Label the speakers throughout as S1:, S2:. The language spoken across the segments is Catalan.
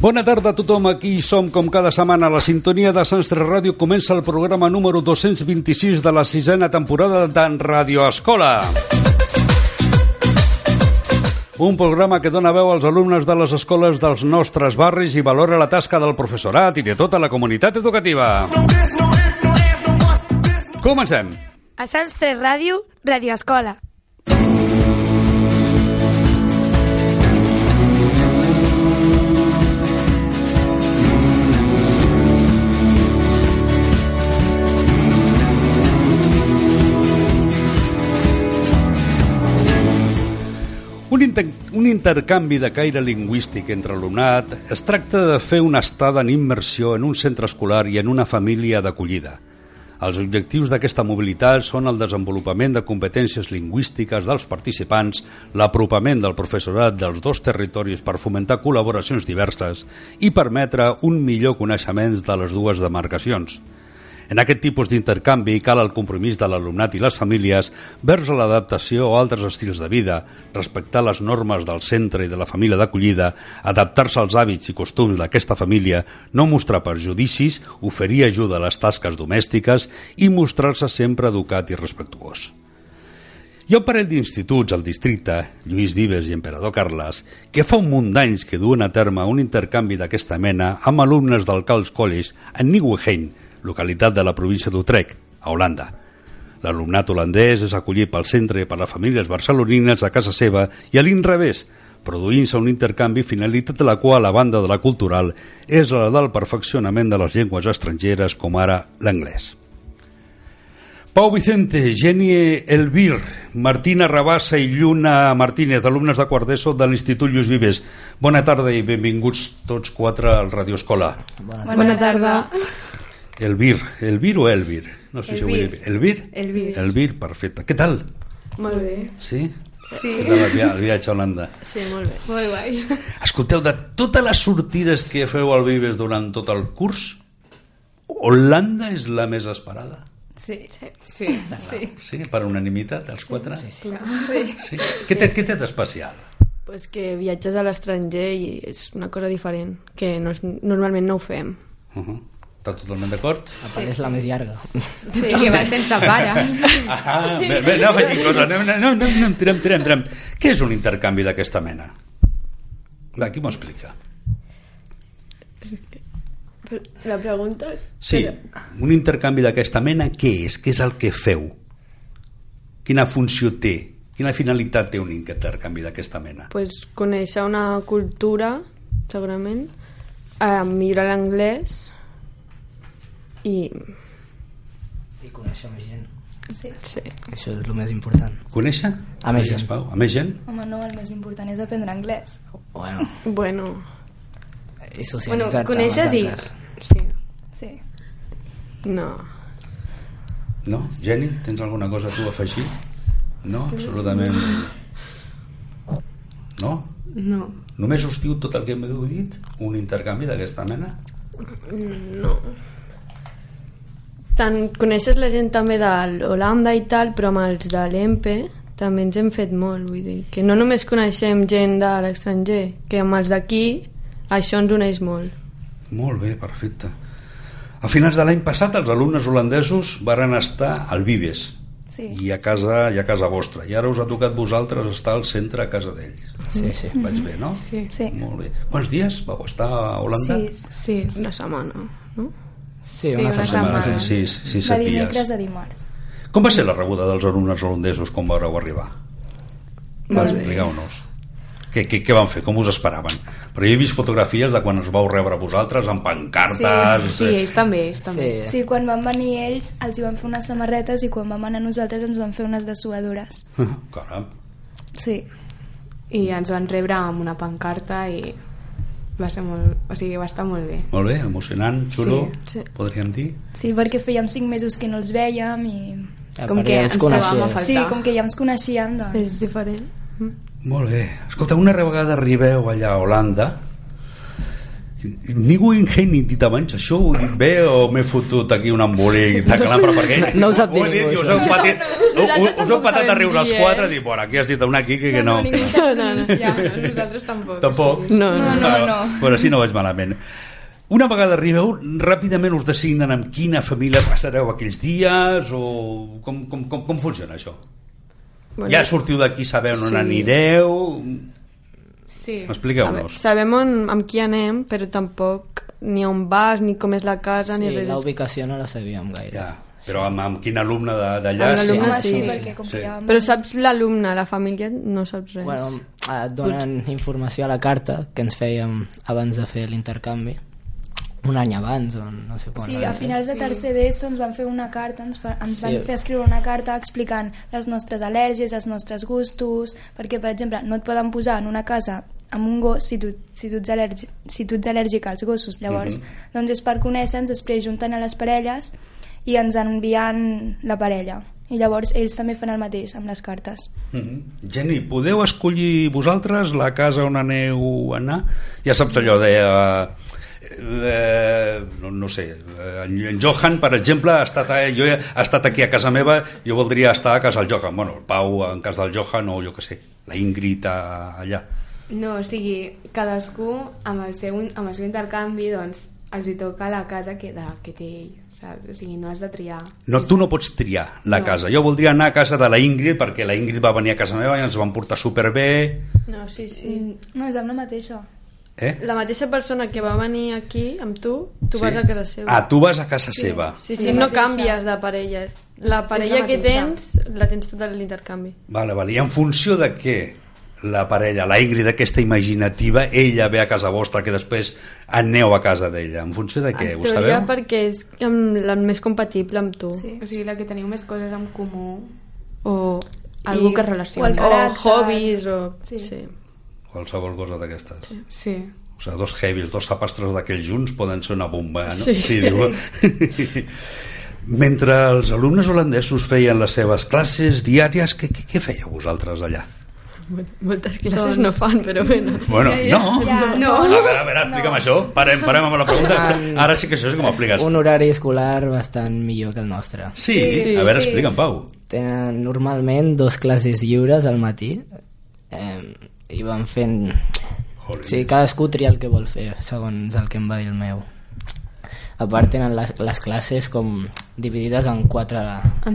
S1: Bona tarda a tothom, aquí som com cada setmana a la sintonia de Sants 3 Ràdio. Comença el programa número 226 de la sisena temporada d'en Radio Escola. Un programa que dona veu als alumnes de les escoles dels nostres barris i valora la tasca del professorat i de tota la comunitat educativa. Comencem.
S2: A Sants 3 Ràdio, Ràdio Escola.
S1: Un, inter un intercanvi de caire lingüístic entre alumnat es tracta de fer una estada en immersió en un centre escolar i en una família d'acollida. Els objectius d'aquesta mobilitat són el desenvolupament de competències lingüístiques dels participants, l'apropament del professorat dels dos territoris per fomentar col·laboracions diverses i permetre un millor coneixement de les dues demarcacions. En aquest tipus d'intercanvi cal el compromís de l'alumnat i les famílies vers l'adaptació a altres estils de vida, respectar les normes del centre i de la família d'acollida, adaptar-se als hàbits i costums d'aquesta família, no mostrar perjudicis, oferir ajuda a les tasques domèstiques i mostrar-se sempre educat i respectuós. Hi ha un parell d'instituts al districte, Lluís Vives i Emperador Carles, que fa un munt d'anys que duen a terme un intercanvi d'aquesta mena amb alumnes del Calls College a Nieuwegein, localitat de la província d'Utrecht, a Holanda. L'alumnat holandès és acollit pel centre per a famílies barcelonines a casa seva i a l'inrevés, produint-se un intercanvi finalitat de la qual la banda de la cultural és la del perfeccionament de les llengües estrangeres com ara l'anglès. Pau Vicente, Genie Elvir, Martina Rabassa i Lluna Martínez, alumnes de quart d'ESO de l'Institut Lluís Vives. Bona tarda i benvinguts tots quatre al Radio Escola.
S3: Bona, Bona tarda.
S1: Elvir, Elvir o Elvir? No sé si ho he dit. Elvir?
S3: Elvir.
S1: Elvir, perfecte. Què tal?
S3: Molt bé.
S1: Sí?
S3: Sí.
S1: Què tal el via- el viatge a Holanda?
S3: Sí, molt bé. Molt guai.
S1: Escolteu, de totes les sortides que feu al Vives durant tot el curs, Holanda és la més esperada.
S3: Sí. Sí. Sí.
S1: Sí? Per unanimitat, els quatre? Sí, sí.
S3: sí.
S1: Què té, què té d'especial?
S4: Pues que viatges a l'estranger i és una cosa diferent, que no és, normalment no ho fem.
S1: Uh -huh. Està totalment d'acord?
S5: A part, és la més llarga.
S3: Sí, que va sense pares.
S1: Ah, bé, bé, no facin cosa. No, no, no, no, no, tirem, tirem, tirem. Què és un intercanvi d'aquesta mena? Va, qui m'ho explica?
S4: La pregunta...
S1: Sí, un intercanvi d'aquesta mena, què és? Què és el que feu? Quina funció té? Quina finalitat té un intercanvi d'aquesta mena?
S4: Pues conèixer una cultura, segurament, eh, millorar l'anglès i...
S5: I conèixer més gent.
S4: Sí.
S5: Això és el més important.
S1: Conèixer?
S5: A més
S1: Digues,
S5: gent.
S1: Pau, a més gent?
S6: Home, no, el més important és aprendre anglès.
S5: Bueno,
S4: Bueno,
S5: i
S3: Bueno,
S5: socialitzar...
S3: coneixes i...
S4: sí.
S6: Sí.
S4: No.
S1: No? Jenny, tens alguna cosa tu a afegir? No? Absolutament... No?
S3: No.
S1: Només us diu tot el que m'heu dit? Un intercanvi d'aquesta mena?
S4: Tant coneixes la gent també de l'Holanda i tal, però amb els de l'EMPE també ens hem fet molt, vull dir, que no només coneixem gent de l'estranger, que amb els d'aquí això ens uneix molt.
S1: Molt bé, perfecte. A finals de l'any passat els alumnes holandesos varen estar al Vives
S6: Sí.
S1: i a casa i a casa vostra. I ara us ha tocat vosaltres estar al centre a casa d'ells.
S5: Sí, sí.
S1: Vaig bé, no?
S4: Sí.
S6: Mhm. Sí.
S1: Molt bé. Quants dies vau estar a Holanda?
S6: Sis.
S4: Sí, una setmana, no?
S5: Sí,
S3: una
S5: una
S3: setmana.
S1: setmana.
S5: setmana.
S3: setmana.
S1: Sis, sis,
S6: de
S1: set
S6: dimecres
S1: dies.
S6: a dimarts.
S1: Com va ser la rebuda dels alumnes holandesos quan vau arribar? Va,
S4: Molt bé.
S1: expliqueu-nos. Què, què, què van fer? Com us esperaven? Però jo he vist fotografies de quan us vau rebre vosaltres amb pancartes...
S3: Sí, ells també, ells també.
S5: Sí.
S6: Sí, quan van venir ells, els hi van fer unes samarretes i quan vam anar nosaltres ens van fer unes dessuadores.
S1: eh? Caram.
S6: Sí.
S3: I ens van rebre amb una pancarta i va ser molt... O sigui, va estar molt bé.
S1: Molt bé, emocionant, xulo,
S4: Sí, sí.
S1: podríem dir.
S6: Sí, perquè fèiem cinc mesos que no els vèiem i...
S5: A
S3: Com
S5: part,
S3: que
S5: ja
S3: ens trobàvem a
S5: coneixies.
S3: faltar.
S6: Sí, com que ja ens coneixíem, doncs...
S4: És diferent.
S1: Molt bé. Escolta, una vegada arribeu allà a Holanda, Ningú ingent ni dit abans això ho he dit bé o m'he fotut aquí un embolic de clampra perquè
S7: No ho sap dir
S1: ho he dit
S7: ningú,
S1: i us
S7: això.
S1: heu patit,
S4: No, no,
S1: us, us heu
S4: nosaltres
S1: patat a
S4: tampoc
S1: riure els
S4: sabem dir,
S1: quatre
S4: eh?
S1: i dir, bueno, aquí has dit una aquí que, que no,
S6: ningú sap
S4: No, no,
S3: Ja, no, nosaltres tampoc.
S1: tampoc
S4: no, no.
S6: No, no,
S1: però,
S6: no.
S1: però sí, no vaig malament. Una vegada arribeu, ràpidament us designen amb quina família passareu aquells dies o com, com, com, com funciona això? Bueno, ja sortiu d'aquí, sabeu on
S4: sí.
S1: anireu...
S4: A
S3: Sí.
S4: veure,
S1: Expliqueu-nos.
S4: sabem on, amb qui anem, però tampoc ni on vas, ni com és la casa, ni
S5: Sí,
S4: res.
S5: la ubicació no la sabíem gaire.
S1: Ja, però amb, amb quin alumne de- d'allà...
S4: Amb l'alumne
S6: Home,
S4: sí,
S6: sí,
S4: sí.
S6: perquè com que
S1: Sí.
S6: ja...
S4: Però saps l'alumne, la família, no saps res.
S5: Bueno, eh, donen informació a la carta que ens fèiem abans de fer l'intercanvi. Un any abans, o no sé quan.
S6: Sí, a finals de tercer d'ESO ens van fer una carta, ens, fa, ens van
S5: Sí.
S6: fer escriure una carta explicant les nostres al·lèrgies, els nostres gustos, perquè, per exemple, no et poden posar en una casa amb un gos si tu, si tu, ets, al·lèrgic, si tu ets al·lèrgic als gossos. Llavors, doncs és per conèixer-nos, després juntant a les parelles i ens enviant la parella. I llavors ells també fan el mateix amb les cartes.
S1: Mhm. Geni, podeu escollir vosaltres la casa on aneu a anar? Ja saps allò de... Eh, no, no sé eh, en, en Johan, per exemple ha estat, a, jo he, ha estat aquí a casa meva jo voldria estar a casa del Johan bueno, el Pau en casa del Johan o jo que sé la Ingrid a, allà
S3: No, o sigui, cadascú amb el seu, amb el seu intercanvi, doncs, els hi toca la casa que, de, que té ell, saps? O sigui, no has de triar.
S1: no, tu no pots triar la
S3: No.
S1: casa jo voldria anar a casa de la Ingrid perquè la Ingrid va venir a casa meva i ens van portar superbé
S4: No, sí, sí.
S6: No, és amb la mateixa.
S1: eh?
S4: Mm, La mateixa persona que va venir aquí amb tu, tu
S1: Sí?
S4: vas a casa seva.
S1: ah, tu vas a casa seva
S4: Sí, sí, no canvies de parelles. La parella que
S3: mateixa.
S4: tens, la tens tot en l'intercanvi.
S1: Vale, vale. I en funció de què la parella, la Ingrid aquesta imaginativa, ella ve a casa vostra, que després aneu a casa d'ella. En funció de què?
S4: en
S1: Ho
S4: teoria
S1: sabeu?
S4: perquè és amb la més compatible amb tu.
S6: Sí.
S3: O sigui, la que teniu més coses en comú o algú
S4: I-
S3: que es
S6: o el
S3: relaciona.
S6: que-
S4: O
S6: Caràcter.
S4: hobbies, o...
S6: Sí.
S4: Sí. sí.
S1: Qualsevol cosa d'aquestes. Sí.
S3: Sí.
S1: O sigui, dos heavies, dos sapastres d'aquells junts poden ser una bomba, eh, no?
S4: Sí.
S1: diu... Mentre els alumnes holandesos feien les seves classes diàries, què, què, què fèieu vosaltres allà?
S4: Bueno, moltes classes no fan, però bueno.
S1: Bueno, no.
S6: Ja,
S1: A veure, a veure, explica'm això. Parem, parem amb la pregunta.
S5: Ah.
S1: Ara sí que això és com ho expliques.
S5: Un horari escolar bastant millor que el nostre.
S1: Sí,
S4: Sí,
S1: a veure,
S6: sí.
S1: explica'm, Pau.
S5: Tenen normalment dos classes lliures al matí eh, i van fent...
S1: Jolín.
S5: Sí, cadascú tria el que vol fer, segons el que em va dir el meu. A part tenen les, les classes com dividides en quatre,
S3: En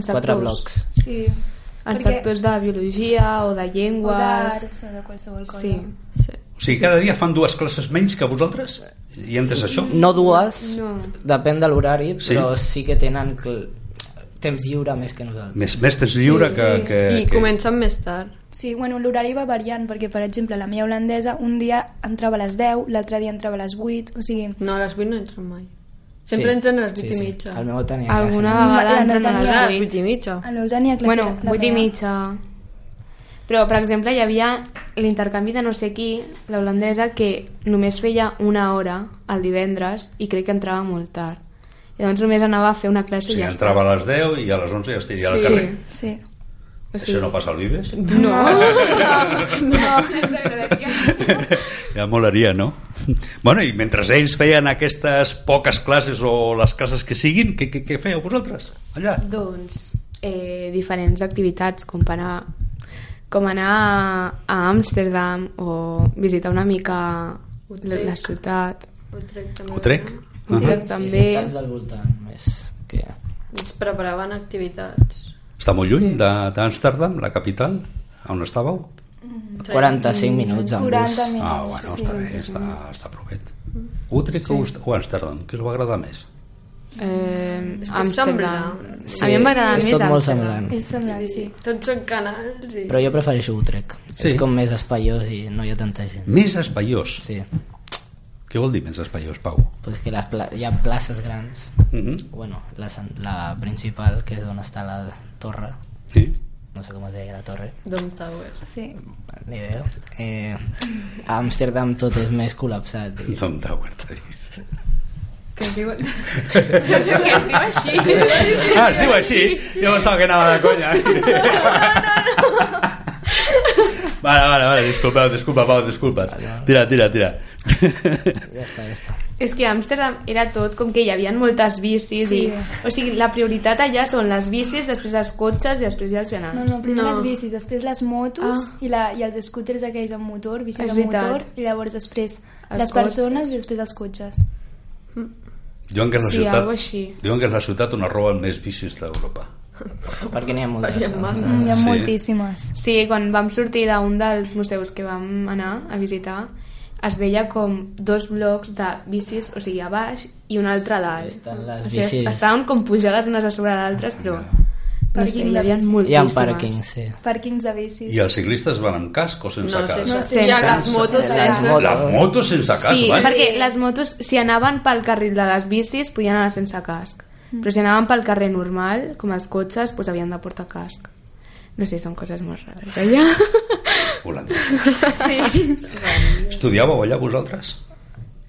S5: quatre
S3: sectors.
S5: blocs.
S6: Sí.
S3: En
S6: Perquè-
S3: sectors de biologia o de
S6: O
S3: llengües...
S6: d'arts o de qualsevol cosa.
S3: Sí.
S4: Sí.
S1: O sigui, cada dia fan dues classes menys que vosaltres? I entes això?
S5: No dues,
S3: No.
S5: depèn de l'horari,
S1: Sí?
S5: però sí que tenen cl- temps lliure més que nosaltres.
S1: Més, més temps lliure que... que,
S4: I
S1: que...
S4: comencen més tard.
S6: Sí, bueno, l'horari va variant, perquè, per exemple, la mia holandesa un dia entrava a les 10, l'altre dia entrava a les 8, o sigui...
S4: No, a les 8 no entren mai. Sempre sí. entren a les 8 sí, i mitja.
S5: El meu tenia
S3: Alguna
S5: Alguna...
S3: vegada
S6: La
S3: entren a
S6: Natàlia.
S3: les
S4: Entren a les
S3: 8.
S4: 8 i mitja.
S6: A l'Eugènia classi-
S3: Bueno,
S6: la
S3: 8 i
S6: meva.
S3: mitja. Però, per exemple, hi havia l'intercanvi de no sé qui, l'holandesa, que només feia una hora el divendres i crec que entrava molt tard. Llavors només anava a fer una
S1: O
S3: classe i
S1: sigui,
S3: ja està.
S1: entrava a les 10 i a les 11 ja estaria al
S4: Sí.
S1: carrer.
S6: Sí.
S1: Això no passa al Vives?
S4: No.
S1: Ja molaria, no? Bueno, i mentre ells feien aquestes poques classes o les classes que siguin, què, què, què fèieu vosaltres allà?
S3: Doncs eh, diferents activitats com anar, com anar a, a Amsterdam o visitar una mica la, la ciutat.
S1: Ho trec?
S3: Sí, també.
S5: També... del voltant, més que...
S4: Ens preparaven activitats.
S1: Està molt lluny de- d'Amsterdam, la capital, on estàveu?
S5: 45 minuts en
S6: 40
S5: bus.
S6: minuts.
S1: Ah, bueno, està bé, està, està provet. Utrecht o Amst- o Amsterdam, què us va agradar més?
S3: Eh,
S4: És que
S3: Amsterdam.
S4: sembla.
S3: A mi em va agradar
S5: és
S3: més
S5: tot molt
S3: Amsterdam.
S5: semblant.
S6: És semblant, sí.
S4: Tots són canals i...
S5: Però jo prefereixo Utrecht.
S1: Sí.
S5: Sí. És com més espaiós i no hi ha tanta gent.
S1: Més espaiós.
S5: Sí,
S1: Què vol dir més espaiós, Pau?
S5: pues que les pla... hi ha places grans.
S1: Mm -hmm.
S5: Bueno, la, san- la principal, que és on està la torre.
S1: sí.
S5: No sé com es deia la torre.
S4: Dom Tower.
S6: Sí.
S5: Ni idea. Eh, a Amsterdam tot és més col·lapsat. I...
S1: Don Tower, t'ha dit.
S3: Que es diu... que es diu que es diu així.
S1: Ah, es diu així? Jo pensava que anava de conya. No, no, no. Vale, vale, vale, disculpa, disculpa, Pau, disculpa. Tira, tira, tira.
S5: Ja està, ja està.
S3: És que a Amsterdam era tot com que hi havia moltes bicis sí.
S6: Sí.
S3: i, o sigui, la prioritat allà són les bicis, després els cotxes i després ja els vianants.
S6: No, no, primer
S4: No.
S6: no. les bicis, després les motos
S4: Ah.
S6: ah. i, la, i els scooters aquells amb motor, bicis
S3: És
S6: amb
S3: veritat.
S6: motor, i llavors després
S3: Els
S6: els les persones
S3: cotxes.
S6: i després els cotxes.
S1: Diuen que és la
S3: Sí,
S1: ciutat,
S3: algo així.
S1: diuen que és la ciutat on es roben més bicis d'Europa.
S5: Perquè n'hi ha moltes.
S4: Perquè hi ha
S5: no?
S4: massa.
S6: Mm, hi ha
S1: Ah, Sí.
S6: moltíssimes.
S3: Sí, quan vam sortir d'un dels museus que vam anar a visitar, es veia com dos blocs de bicis, o sigui, a baix i un altre a dalt.
S5: Estan les
S3: o sigui,
S5: bicis.
S3: Estaven com pujades unes a sobre d'altres, però... No sé,
S6: Pàrquing
S3: hi
S6: de
S3: havia
S6: bicis.
S5: Hi ha
S3: moltíssimes.
S5: pàrquings, sí.
S6: Pàrquings de bicis.
S1: I els ciclistes van amb casc o sense
S4: No,
S1: casc?
S4: sense,
S6: No,
S4: sense,
S6: sense-
S4: ja, les motos
S6: sense-
S4: sense...
S5: Motos.
S1: Les motos sense casc,
S3: Sí,
S1: van?
S3: perquè les motos, si anaven pel carril de les bicis, podien anar sense casc. Però si anaven pel carrer normal, com els cotxes, doncs havien de portar casc. No sé, són coses molt rares, eh? allà.
S1: Holandesos. Estudiàveu allà vosaltres?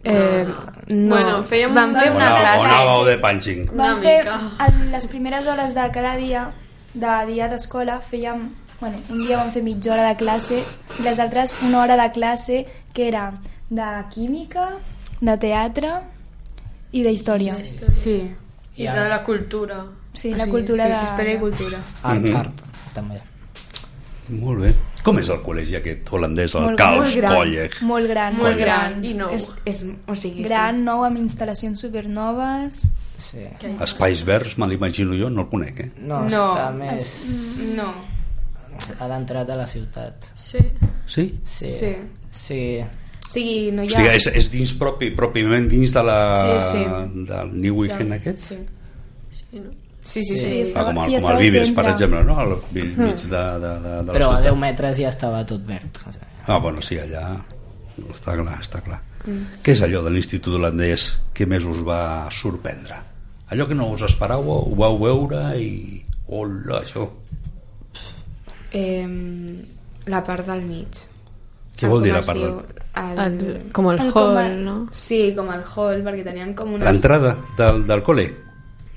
S3: Eh, no.
S4: Bueno, fèiem
S3: Vam
S4: una-
S3: fer
S1: O
S3: una
S1: anà- o
S3: classe.
S1: anàveu de punching?
S6: Vam
S4: Una
S6: fer
S4: mica.
S6: el, les primeres hores de cada dia, de dia d'escola, fèiem... Bueno, un dia vam fer mitja hora de classe i les altres una hora de classe que era de química, de teatre i de història. Sí,
S3: Sí. Ah,
S4: I de la cultura.
S6: la cultura
S3: sí,
S6: de...
S3: Història i cultura.
S5: Art,
S1: Mhm.
S5: art, també.
S1: Molt bé. Com és el col·legi aquest holandès, el
S6: Molt-
S1: Caos
S3: molt gran.
S1: College?
S6: Molt gran.
S1: Molt
S6: Molt
S1: gran.
S6: gran.
S4: I nou.
S3: És, és, o sigui,
S6: Gran, nou, amb instal·lacions supernoves.
S5: Sí.
S1: Espais verds, me l'imagino jo, no el conec, eh?
S5: No,
S3: No.
S5: està més...
S3: Sí. No.
S5: Ha d'entrar a la ciutat.
S4: Sí.
S1: Sí?
S5: Sí.
S3: Sí.
S5: Sí.
S3: O sigui, no
S1: O
S3: hi ha...
S1: sigui, és, és dins propi, pròpiament dins de la,
S3: Sí,
S1: del New Weekend aquest?
S3: Sí.
S4: sí no.
S3: Sí, sí, sí.
S5: Sí.
S3: sí.
S1: Ah, com, el,
S6: Sí,
S1: com
S6: estava
S1: el Vives,
S6: sempre.
S1: per exemple, no? Al vi-
S3: Hm.
S1: mig de, de, de, de
S5: Però
S3: eh,
S1: la
S5: a 10
S1: ciutat.
S5: metres ja estava tot verd. O sigui,
S1: Ah, bueno, sí, allà... Està clar, està clar. Mm. Què és allò de l'Institut Holandès que més us va sorprendre? Allò que no us esperàveu, ho vau veure i... Hola, això...
S3: Eh, la part del mig.
S1: Què
S3: Ah,
S1: vol dir
S3: com
S1: la
S3: es
S1: part del...
S3: diu? El...
S4: El, com el,
S6: El com
S4: hall,
S6: el-
S4: no?
S3: Sí, com el hall, perquè tenien com unes...
S1: L'entrada del, del col·le?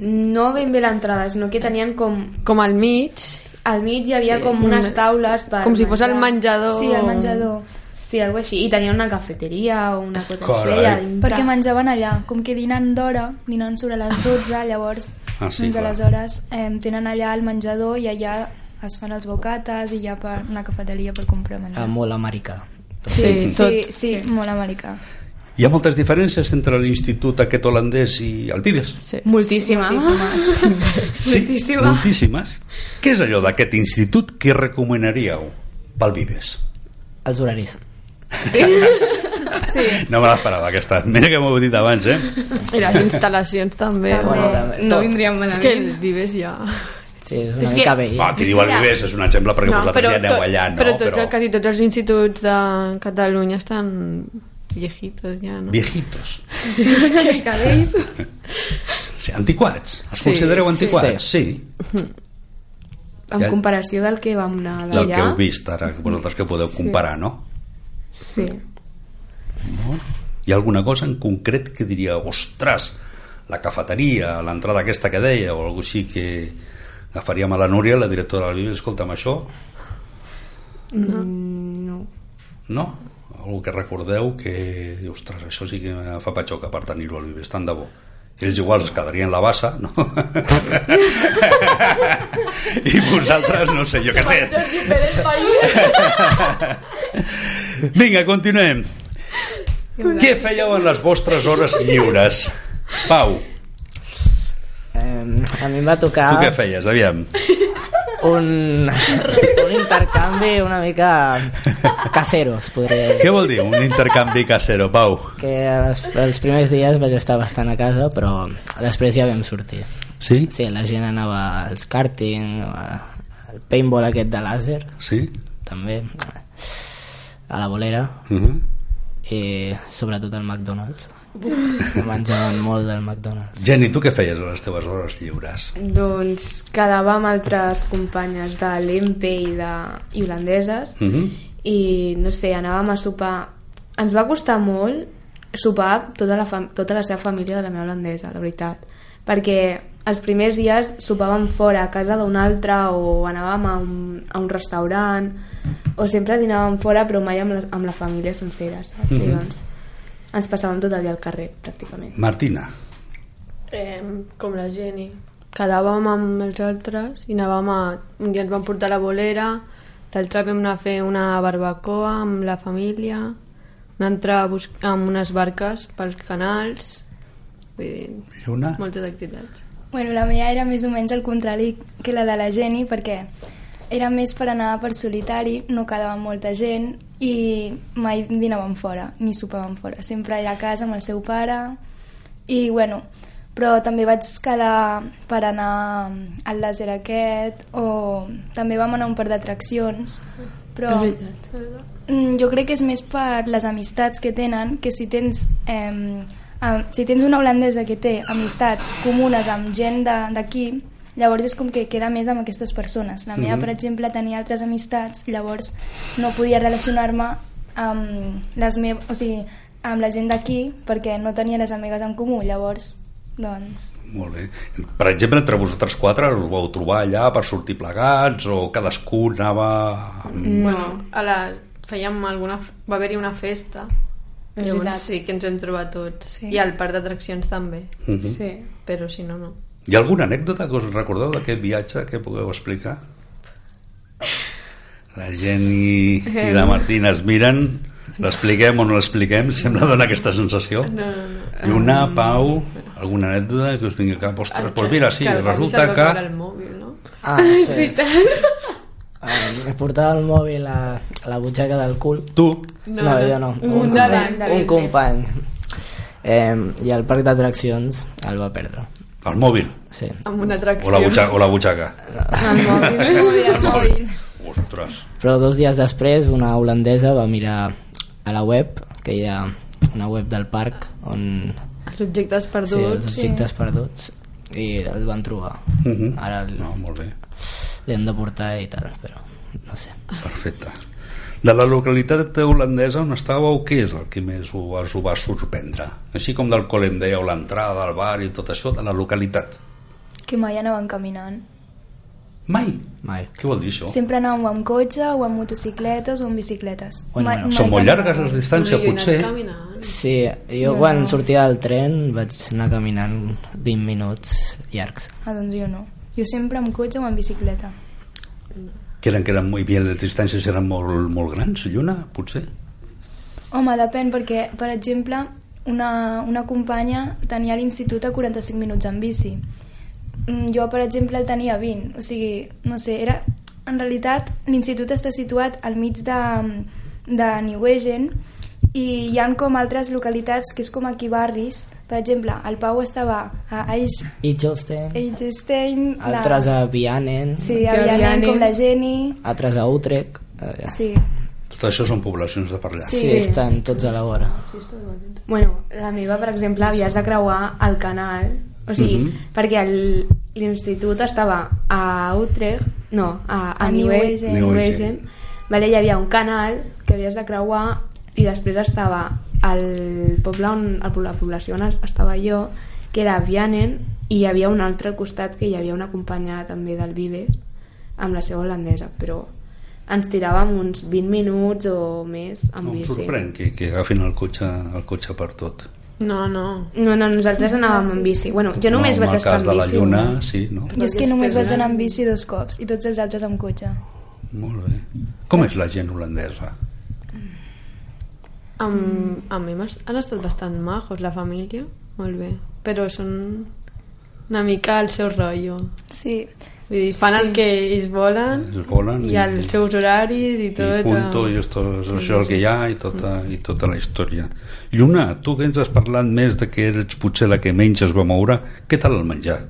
S3: No ben bé l'entrada, sinó que tenien com...
S4: Com al mig,
S3: Al mig hi havia com unes taules per
S4: com si fos el
S3: menjar.
S4: menjador.
S6: Sí, al menjador.
S3: Sí, alguna així. I tenia una cafeteria o una cosa
S1: Carai.
S3: així. allà dintre.
S6: Perquè menjaven allà, com que dinen d'hora, dinen sobre les 12, llavors
S1: Ah, sí,
S6: doncs
S1: clar.
S6: aleshores eh, tenen allà el menjador i allà es fan els bocates i hi ha per una cafeteria per comprar menjar.
S5: Ah, molt americà.
S4: Sí,
S6: sí,
S4: tot.
S6: sí, sí, molt americà.
S1: Hi ha moltes diferències entre l'institut aquest holandès i el Vives?
S4: Sí.
S3: Moltíssima.
S1: Sí,
S3: Moltíssima.
S1: moltíssimes. Què és allò d'aquest institut que recomanaríeu pel Vives?
S5: Els horaris.
S1: No me l'esperava aquesta. Mira que m'ho he dit abans, eh?
S4: I les instal·lacions també.
S6: També.
S4: Bueno,
S5: també,
S3: No
S5: tot.
S3: vindríem malament.
S4: és que el vives ja...
S5: Sí, és una
S4: És
S5: mica
S4: Eh, que-
S5: vell.
S1: Va, qui diu el Vives és un exemple perquè no, vosaltres ja aneu
S4: tot-
S1: allà, no?
S4: però, tots, però... quasi tots els instituts de Catalunya estan viejitos ja, no?
S1: Viejitos.
S4: És que cabells...
S1: Sí, antiquats. Els
S4: Sí,
S1: considereu
S5: sí.
S1: antiquats? Sí.
S3: En
S1: Ja-
S3: comparació del que vam anar d'allà.
S1: Del que heu vist ara, que vosaltres que podeu comparar, no?
S3: Sí.
S1: Hi ha alguna cosa en concret que diria, ostres, la cafeteria, l'entrada aquesta que deia, o alguna així que agafaríem a la Núria, la directora del Vives, escolta'm, això
S3: Mm, no.
S1: No? Algú que recordeu que, diu, ostres, això sí que fa patxoca per tenir-ho al Vives, tant de bo. Ells igual es quedarien la bassa, no? I vosaltres, no sé, jo què sé. Vinga, continuem. Què fèieu en les vostres hores lliures? Pau,
S5: Eh, a mi em va tocar...
S1: tu què feies, aviam?
S5: un, un intercanvi una mica caseros, podria dir.
S1: Què vol dir un intercanvi casero, Pau?
S5: Que els, els primers dies vaig estar bastant a casa, però després ja vam sortir.
S1: Sí?
S5: Sí, la gent anava als karting, a- al paintball aquest de làser,
S1: Sí?
S5: també, a la bolera,
S1: Uh -huh.
S5: i Eh, sobretot al McDonald's. Menjaven molt del McDonald's.
S1: Jenny, tu què feies a les teves hores lliures?
S3: Doncs quedava amb altres companyes de l'EMP i, de... i holandeses
S1: Uh -huh.
S3: i, no sé, anàvem a sopar. Ens va costar molt sopar tota la, fam... tota la seva família de la meva holandesa, la veritat. Perquè els primers dies sopàvem fora, a casa d'un altre, o anàvem a un, a un restaurant, o sempre dinàvem fora però mai amb la, amb la família sencera, saps?
S1: Mhm.
S3: Mm -hmm. I doncs ens passàvem tot el dia al carrer, pràcticament.
S1: Martina,
S4: Eh, com la Jenny. Quedàvem amb els altres i anàvem a... Un dia ens van portar la bolera, l'altre vam anar a fer una barbacoa amb la família, un altre a bus... amb unes barques pels canals, vull dir,
S1: Lluna,
S4: moltes activitats.
S6: Bueno, la meva era més o menys el contrari que la de la Jenny, perquè era més per anar per solitari, no quedava molta gent i mai dinàvem fora, ni sopàvem fora. Sempre era a casa amb el seu pare i, bueno, però també vaig quedar per anar al làser aquest o també vam anar a un parc d'atraccions, però...
S4: És veritat.
S6: Mm, jo crec que és més per les amistats que tenen, que si tens, eh, si tens una holandesa que té amistats comunes amb gent de- d'aquí, llavors és com que queda més amb aquestes persones. La meva,
S1: Mhm.
S6: per exemple, tenia altres amistats, llavors no podia relacionar-me amb, les me o sigui, amb la gent d'aquí perquè no tenia les amigues en comú, llavors, doncs...
S1: molt bé. Per exemple, entre vosaltres quatre us vau trobar allà per sortir plegats o cadascú anava... amb-
S3: No.
S7: Bueno, a la... fèiem alguna... va haver-hi una festa.
S3: És
S7: Llavors
S3: veritat.
S7: sí que ens hem trobat tots.
S6: Sí.
S7: Sí. I al parc d'atraccions també.
S1: Mhm.
S3: Sí.
S7: Però si no, no.
S1: Hi ha alguna anècdota que us recordeu d'aquest viatge que pugueu explicar? La Jenny i la Martina es miren, l'expliquem o no l'expliquem, sembla donar aquesta sensació.
S7: No, no, no.
S1: I una, Pau, alguna anècdota que us vingui al cap? Ostres, doncs mira, sí,
S7: el Dani
S1: resulta
S7: se'l va
S1: que...
S7: caure El mòbil, no?
S5: Ah, sí. Um, portava el mòbil a la butxaca del cul.
S1: Tu,
S5: No, no, jo no.
S7: Un de
S5: company.
S3: David.
S5: Un company. Eh, I al parc d'atraccions el va perdre.
S1: el mòbil,
S5: Sí.
S7: Amb una atracció.
S1: o la butxaca. O la butxaca.
S6: El mòbil.
S1: Ostres.
S5: Però dos dies després una holandesa va mirar a la web, que hi ha una web del parc on
S4: Els objectes
S5: sí, els
S4: perduts.
S5: objectes perduts i el van trobar.
S1: Mhm.
S5: Ara el-
S1: No, molt bé.
S5: l'hem de portar i tal, però no sé.
S1: Perfecte. De la localitat holandesa on estàveu, què és el que més ho, us ho va sorprendre? Així com del col·le em dèieu, l'entrada, el bar i tot això, de la localitat.
S6: Que mai anaven caminant.
S1: Mai.
S5: Mai.
S1: Què vol dir això?
S6: Sempre anàvem o amb cotxe, o amb motocicletes, o amb bicicletes.
S5: Bueno, bueno.
S1: Són molt
S6: caminàvem.
S1: llargues les distàncies,
S7: No, jo he anat
S1: potser.
S7: caminant.
S5: Sí, jo quan sortia del tren vaig anar caminant 20 minuts llargs.
S6: Ah, doncs jo no. Jo sempre amb cotxe o amb bicicleta.
S1: Que eren, que eren molt, i les distàncies eren molt, molt grans, Lluna, potser.
S6: Home, depèn, perquè, per exemple, una, una companya tenia l'institut a 45 minuts en bici. Mm, Jo, per exemple, el tenia a 20. O sigui, no sé, era... En realitat, l'institut està situat al mig de, de Newegen i hi han com altres localitats que és com aquí barris. Per exemple, el Pau estava a Eis-
S5: I Jolstein,
S6: Eichstein,
S5: altres a Vianen,
S6: Sí, a Vianen, com la Jenny.
S5: altres a Utrecht. Eh,
S6: Sí.
S1: Tot això són poblacions de parlar.
S5: sí, estan tots a la vora.
S3: Bueno, la meva, per exemple, havies de creuar el canal, o sigui, mm
S1: Mhm.
S3: -hmm. perquè el- l'institut estava a Utrecht, no, a, a,
S6: A
S3: a
S6: Nieuwegein.
S3: Nieuwegein. Vale, hi havia un canal que havies de creuar i després estava el poble on, el, la població on estava jo, que era Vianen, i hi havia un altre al costat que hi havia una companya també del Vives, amb la seva holandesa, però ens tiràvem uns 20 minuts o més amb
S1: No, em
S3: bici.
S1: sorprèn que, que agafin el cotxe, el cotxe per tot.
S7: No, no.
S3: No, no, nosaltres anàvem en bici. Bueno, jo només
S1: no, en
S3: vaig
S1: el
S3: estar
S1: cas
S3: en
S1: de la
S3: bici.
S1: Lluna, sí, no?
S6: Jo és que només vaig anar amb bici dos cops i tots els altres amb cotxe.
S1: Molt bé. Com és la gent holandesa?
S7: Amb, amb hem, es- han estat bastant majos, la família, molt bé. Però són una mica el seu rotllo.
S6: Sí.
S7: Vull dir, fan sí. el que ells volen
S1: Ells volen
S7: i els seus horaris i tot. eh, Mm.
S1: i punto, i esto, això és el que hi ha i tota, i tota la història Lluna, tu que ens has parlat més de que ets potser la que menys es va moure què tal el menjar?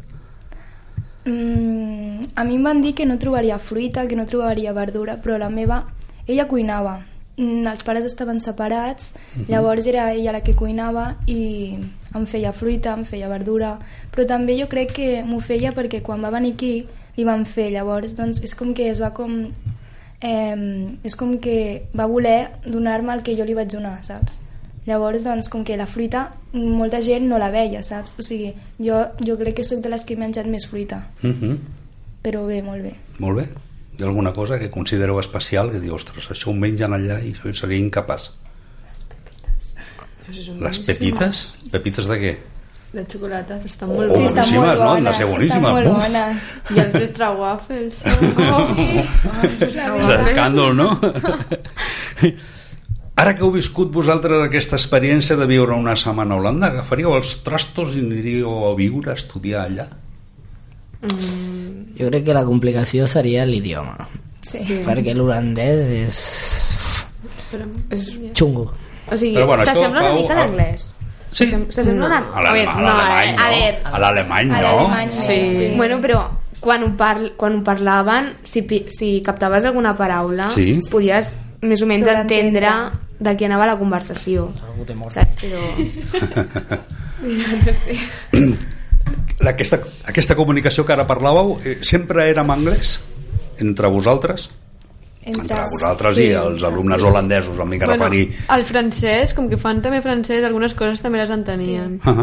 S6: Mm, a mi em van dir que no trobaria fruita, que no trobaria verdura, però la meva, ella cuinava. Mm, els pares estaven separats, llavors era ella la que cuinava i em feia fruita, em feia verdura, però també jo crec que m'ho feia perquè quan va venir aquí li van fer, llavors doncs és com que es va com... Eh, és com que va voler donar-me el que jo li vaig donar, saps? Llavors, doncs, com que la fruita, molta gent no la veia, saps? O sigui,
S7: Mhm.
S6: jo, jo crec que sóc de les que he menjat més fruita.
S1: Uh -huh.
S6: Però bé, molt bé.
S1: molt bé Hi ha alguna cosa que considereu especial que diu, ostres, això ho mengen allà i jo seria incapaç. Les pepites? Pepites de què?
S7: De xocolata, però estan molt
S1: Sí,
S7: bones.
S1: està- boníssimes, no? Han de ser boníssimes.
S6: Estan molt
S1: Uf.
S6: bones.
S7: I els extra waffles. Oh,
S1: És escàndol, no? Ara que heu viscut vosaltres aquesta experiència de viure una setmana a Holanda, agafaríeu els trastos i aniríeu a viure, a estudiar allà?
S5: Jo crec que la complicació seria l'idioma.
S6: Sí.
S5: Perquè l'holandès és... és xungo.
S3: O sigui,
S1: Però bueno, això
S3: s'assembla una
S1: va-
S3: mica a l'anglès.
S1: Sí,
S3: S'assembla una...
S1: a l'alem- a
S3: no, eh,
S1: l'alemany,
S3: a veure,
S1: no? A l'alemany,
S6: A l'alemany,
S1: no?
S6: sí.
S3: Bueno, però quan ho, parl quan ho parlaven, si, pi- si captaves alguna paraula,
S1: Sí.
S3: podies més o menys
S6: Sobreentendre.
S3: entendre de què anava la conversació.
S5: Algú té mort.
S3: Saps? Però...
S1: Aquesta, aquesta comunicació que ara parlàveu, eh, sempre era en anglès? Entre vosaltres? Entre vosaltres i els alumnes holandesos, em vinc a
S7: Bueno,
S1: referir.
S7: el francès, com que fan també francès, algunes coses també les entenien.
S1: Ah ah.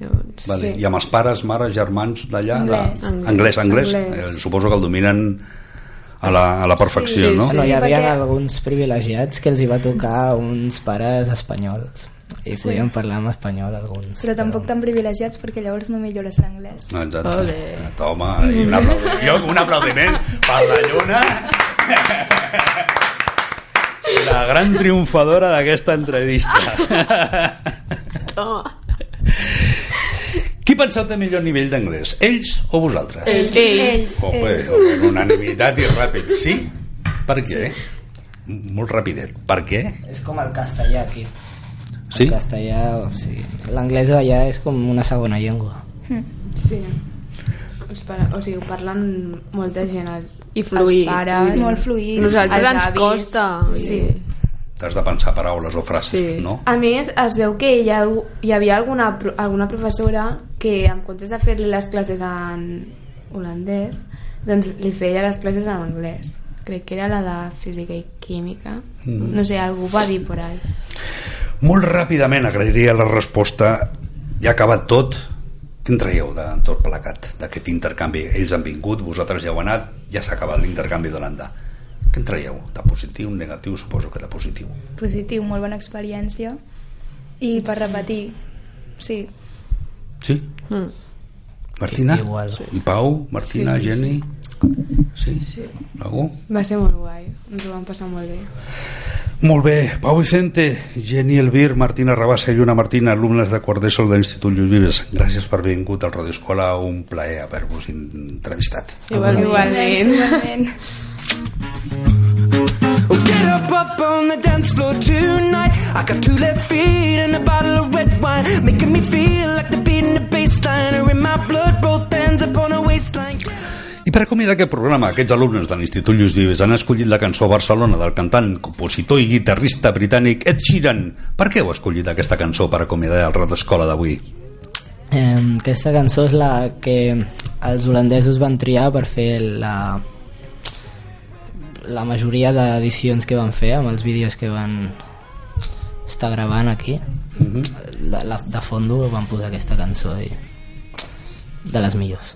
S7: Llavors,
S1: Vale. I amb els pares, mares, germans d'allà... la-
S6: Anglès.
S1: Anglès, anglès.
S3: Anglès.
S1: Eh, suposo que el dominen a la, a la
S7: Sí,
S1: perfecció,
S7: sí,
S1: no?
S5: No, hi havia
S6: perquè-
S5: alguns privilegiats que els hi va tocar uns pares espanyols i podien parlar en espanyol alguns.
S6: Però tampoc tan privilegiats perquè llavors no millores l'anglès.
S1: Exacte. Toma, i un aplaudiment, un aplaudiment per la Lluna. La gran triomfadora d'aquesta entrevista. Qui penseu té millor nivell d'anglès? Ells o vosaltres? Ells.
S6: Ells,
S1: Oh, bé,
S6: ells.
S1: amb unanimitat i ràpid. Sí? Per què? M- Molt rapidet. Per què?
S5: És com el castellà aquí.
S1: Sí?
S5: El castellà, o sigui, l'anglès allà és com una segona llengua.
S3: Sí. Els pare... O sigui, ho parlen molta gent. Els,
S7: I fluid,
S3: Els pares,
S7: fluid.
S6: Molt fluid.
S7: Nosaltres
S3: els
S7: ens
S3: avis.
S7: costa.
S3: Sí.
S1: T'has de pensar paraules o frases,
S7: Sí.
S1: no?
S3: A més, es veu que hi, ha, hi havia alguna, pro- alguna professora que en comptes de fer-li les classes en holandès, doncs li feia les classes en anglès. Crec que era la de física i química.
S1: Mm.
S3: No sé, algú va dir por ahí.
S1: Molt ràpidament agrairia la resposta. Ja ha acabat tot. Què en traieu de tot plegat, d'aquest intercanvi? Ells han vingut, vosaltres ja heu anat, ja s'ha acabat l'intercanvi d'Holanda. Què en traieu? De positiu, negatiu? Suposo que de positiu.
S6: Positiu, molt bona experiència. I per repetir, sí.
S1: Sí? Mm. Martina?
S5: I- igual. Sí.
S1: Pau, Martina, sí, sí, Jenny? Sí? sí. Algú?
S3: Va ser molt guai, ens ho vam passar molt bé.
S1: Molt bé, Pau Vicente, Jenny Elvir, Martina Rabassa i Lluna Martina, alumnes de quart d'ESO de l'Institut Lluís Vives. Gràcies per haver vingut al Radio Escola, un plaer haver-vos entrevistat.
S7: Igualment.
S6: Gràcies, igualment.
S8: Oh, get up, up on the dance floor tonight. I got two left feet and a bottle of red wine, making me feel like the beat and the bass line are in my blood, both hands upon her waistline.
S1: I per acomiadar aquest programa, aquests alumnes de l'Institut Lluís Vives han escollit la cançó Barcelona del cantant, compositor i guitarrista britànic Ed Sheeran. Per què heu escollit aquesta cançó per acomiadar el Radio Escola d'avui?
S5: Eh, aquesta cançó és la que els holandesos van triar per fer la, la majoria d'edicions que van fer amb els vídeos que van estar gravant aquí. Mm -hmm. la, la, de fondo van posar aquesta cançó i de les millors.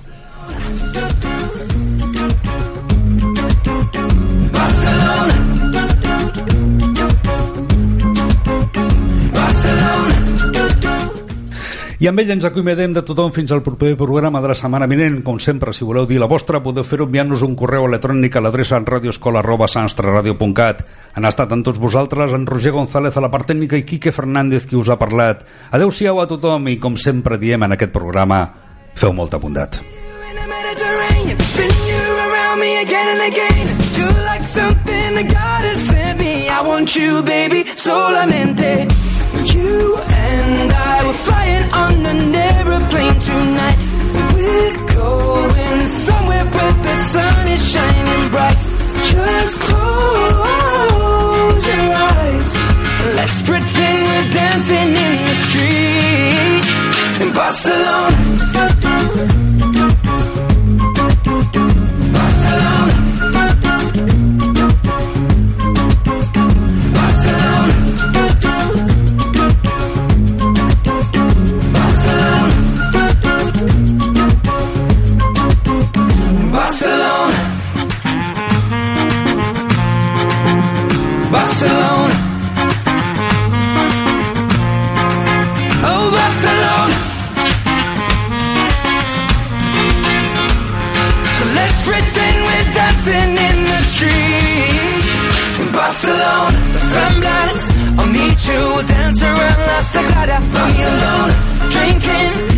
S1: I amb ell ens acomiadem de tothom fins al proper programa de la setmana vinent. Com sempre, si voleu dir la vostra, podeu fer-ho enviant-nos un correu electrònic a l'adreça en radioescola.sanstraradio.cat. Han estat amb tots vosaltres en Roger González a la part tècnica i Quique Fernández qui us ha parlat. Adeu-siau a tothom i com sempre diem en aquest programa, feu molta bondat.
S8: in the Mediterranean, spinning you around me again and again. You're like something the God has sent me. I want you, baby, solamente. You and I were flying on an aeroplane tonight. We're going somewhere where the sun is shining bright. Just close your eyes. Let's pretend we're dancing in the street in Barcelona. Barcelona. Oh, sagrada familia. Drinking